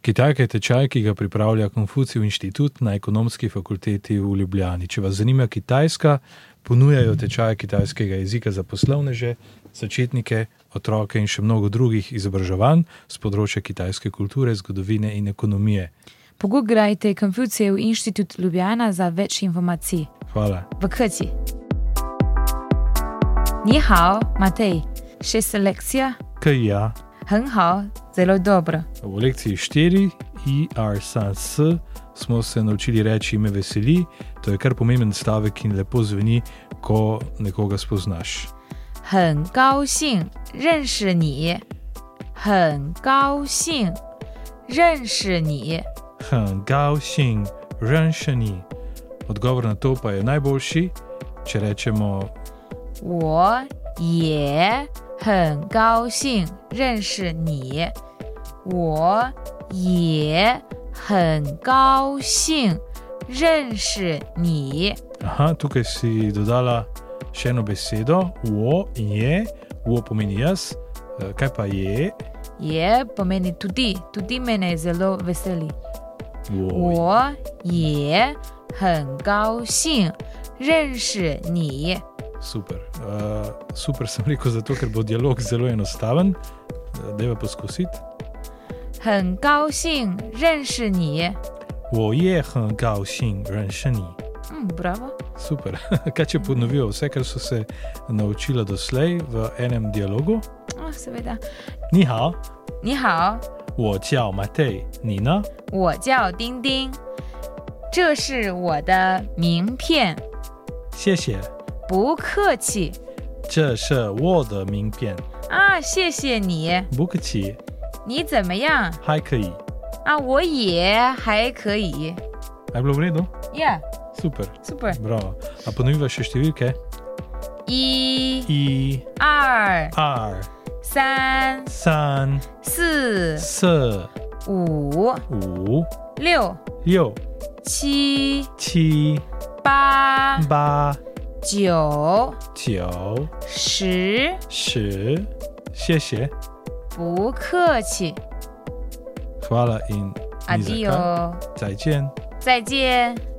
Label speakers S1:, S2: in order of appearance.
S1: Kitajka je tečaj, ki ga pripravlja Konfucijev inštitut na ekonomski fakulteti v Ljubljani. Če vas zanima Kitajska, ponujajo tečaje kitajskega jezika za poslovneže, začetnike, otroke in še mnogo drugih izobraževanj z področja kitajske kulture, zgodovine in ekonomije.
S2: Pogooglajte Konfucijev inštitut Ljubljana za več informacij.
S1: Hvala.
S2: 不客气。你好，Matej, še selekcija?
S1: Kaj ja?
S2: 很好，zelo dobro.
S1: V lekciji 4, IR Sans, smo se naučili reči: Me veseli. To je kar pomemben stavek in lepo zveni, ko nekoga spoznaš.
S2: 很高兴认识你，很高兴认识你。
S1: Hm, Gao Xing, Renšeni. Odgovor na to pa je najboljši, če rečemo
S2: 我也很高兴认识你，我也很高兴认识你。
S1: Aha, tukaj si dodala še eno besedo, uo in je, uo pomeni jaz, eh, kaj pa je,
S2: je pomeni tudi, tudi mene zelo veseli.
S1: uo.
S2: 我也很高兴认识你。
S1: Super. Uh, super sem rekel, zato ker bo dialog zelo enostaven. Deva poskusiti.
S2: 很高兴认识你。
S1: 我也很高兴认识你。
S2: 嗯，bravo。
S1: Super. Kaj če ponovijo vse, kar so se naučila doslej v enem dialogu?
S2: 啊、seveda。
S1: Ni hao,
S2: 你好，
S1: 我叫 Matej, ni na.
S2: 我叫丁丁，这是我的名片。
S1: 谢谢，
S2: 不客气
S1: 这是我的名片。
S2: 啊，谢谢你。
S1: 不客气，
S2: 你怎么样
S1: 还可以。
S2: 啊？我也还可以。
S1: A je bilo v redu?
S2: Yeah,
S1: Super.
S2: super。
S1: Bravo. A ponoviva še številke?
S2: 一、
S1: I,
S2: 二、
S1: R,
S2: 三、
S1: san,
S2: 四、
S1: s,
S2: 五、
S1: u,
S2: 六、
S1: 六、
S2: 七、
S1: 七、
S2: 八、
S1: 八、
S2: 九、
S1: 九、
S2: 十，
S1: 十。谢谢，
S2: 不客气。
S1: hvala in ni za kaj.
S2: Adijo，
S1: 再见。
S2: 再见。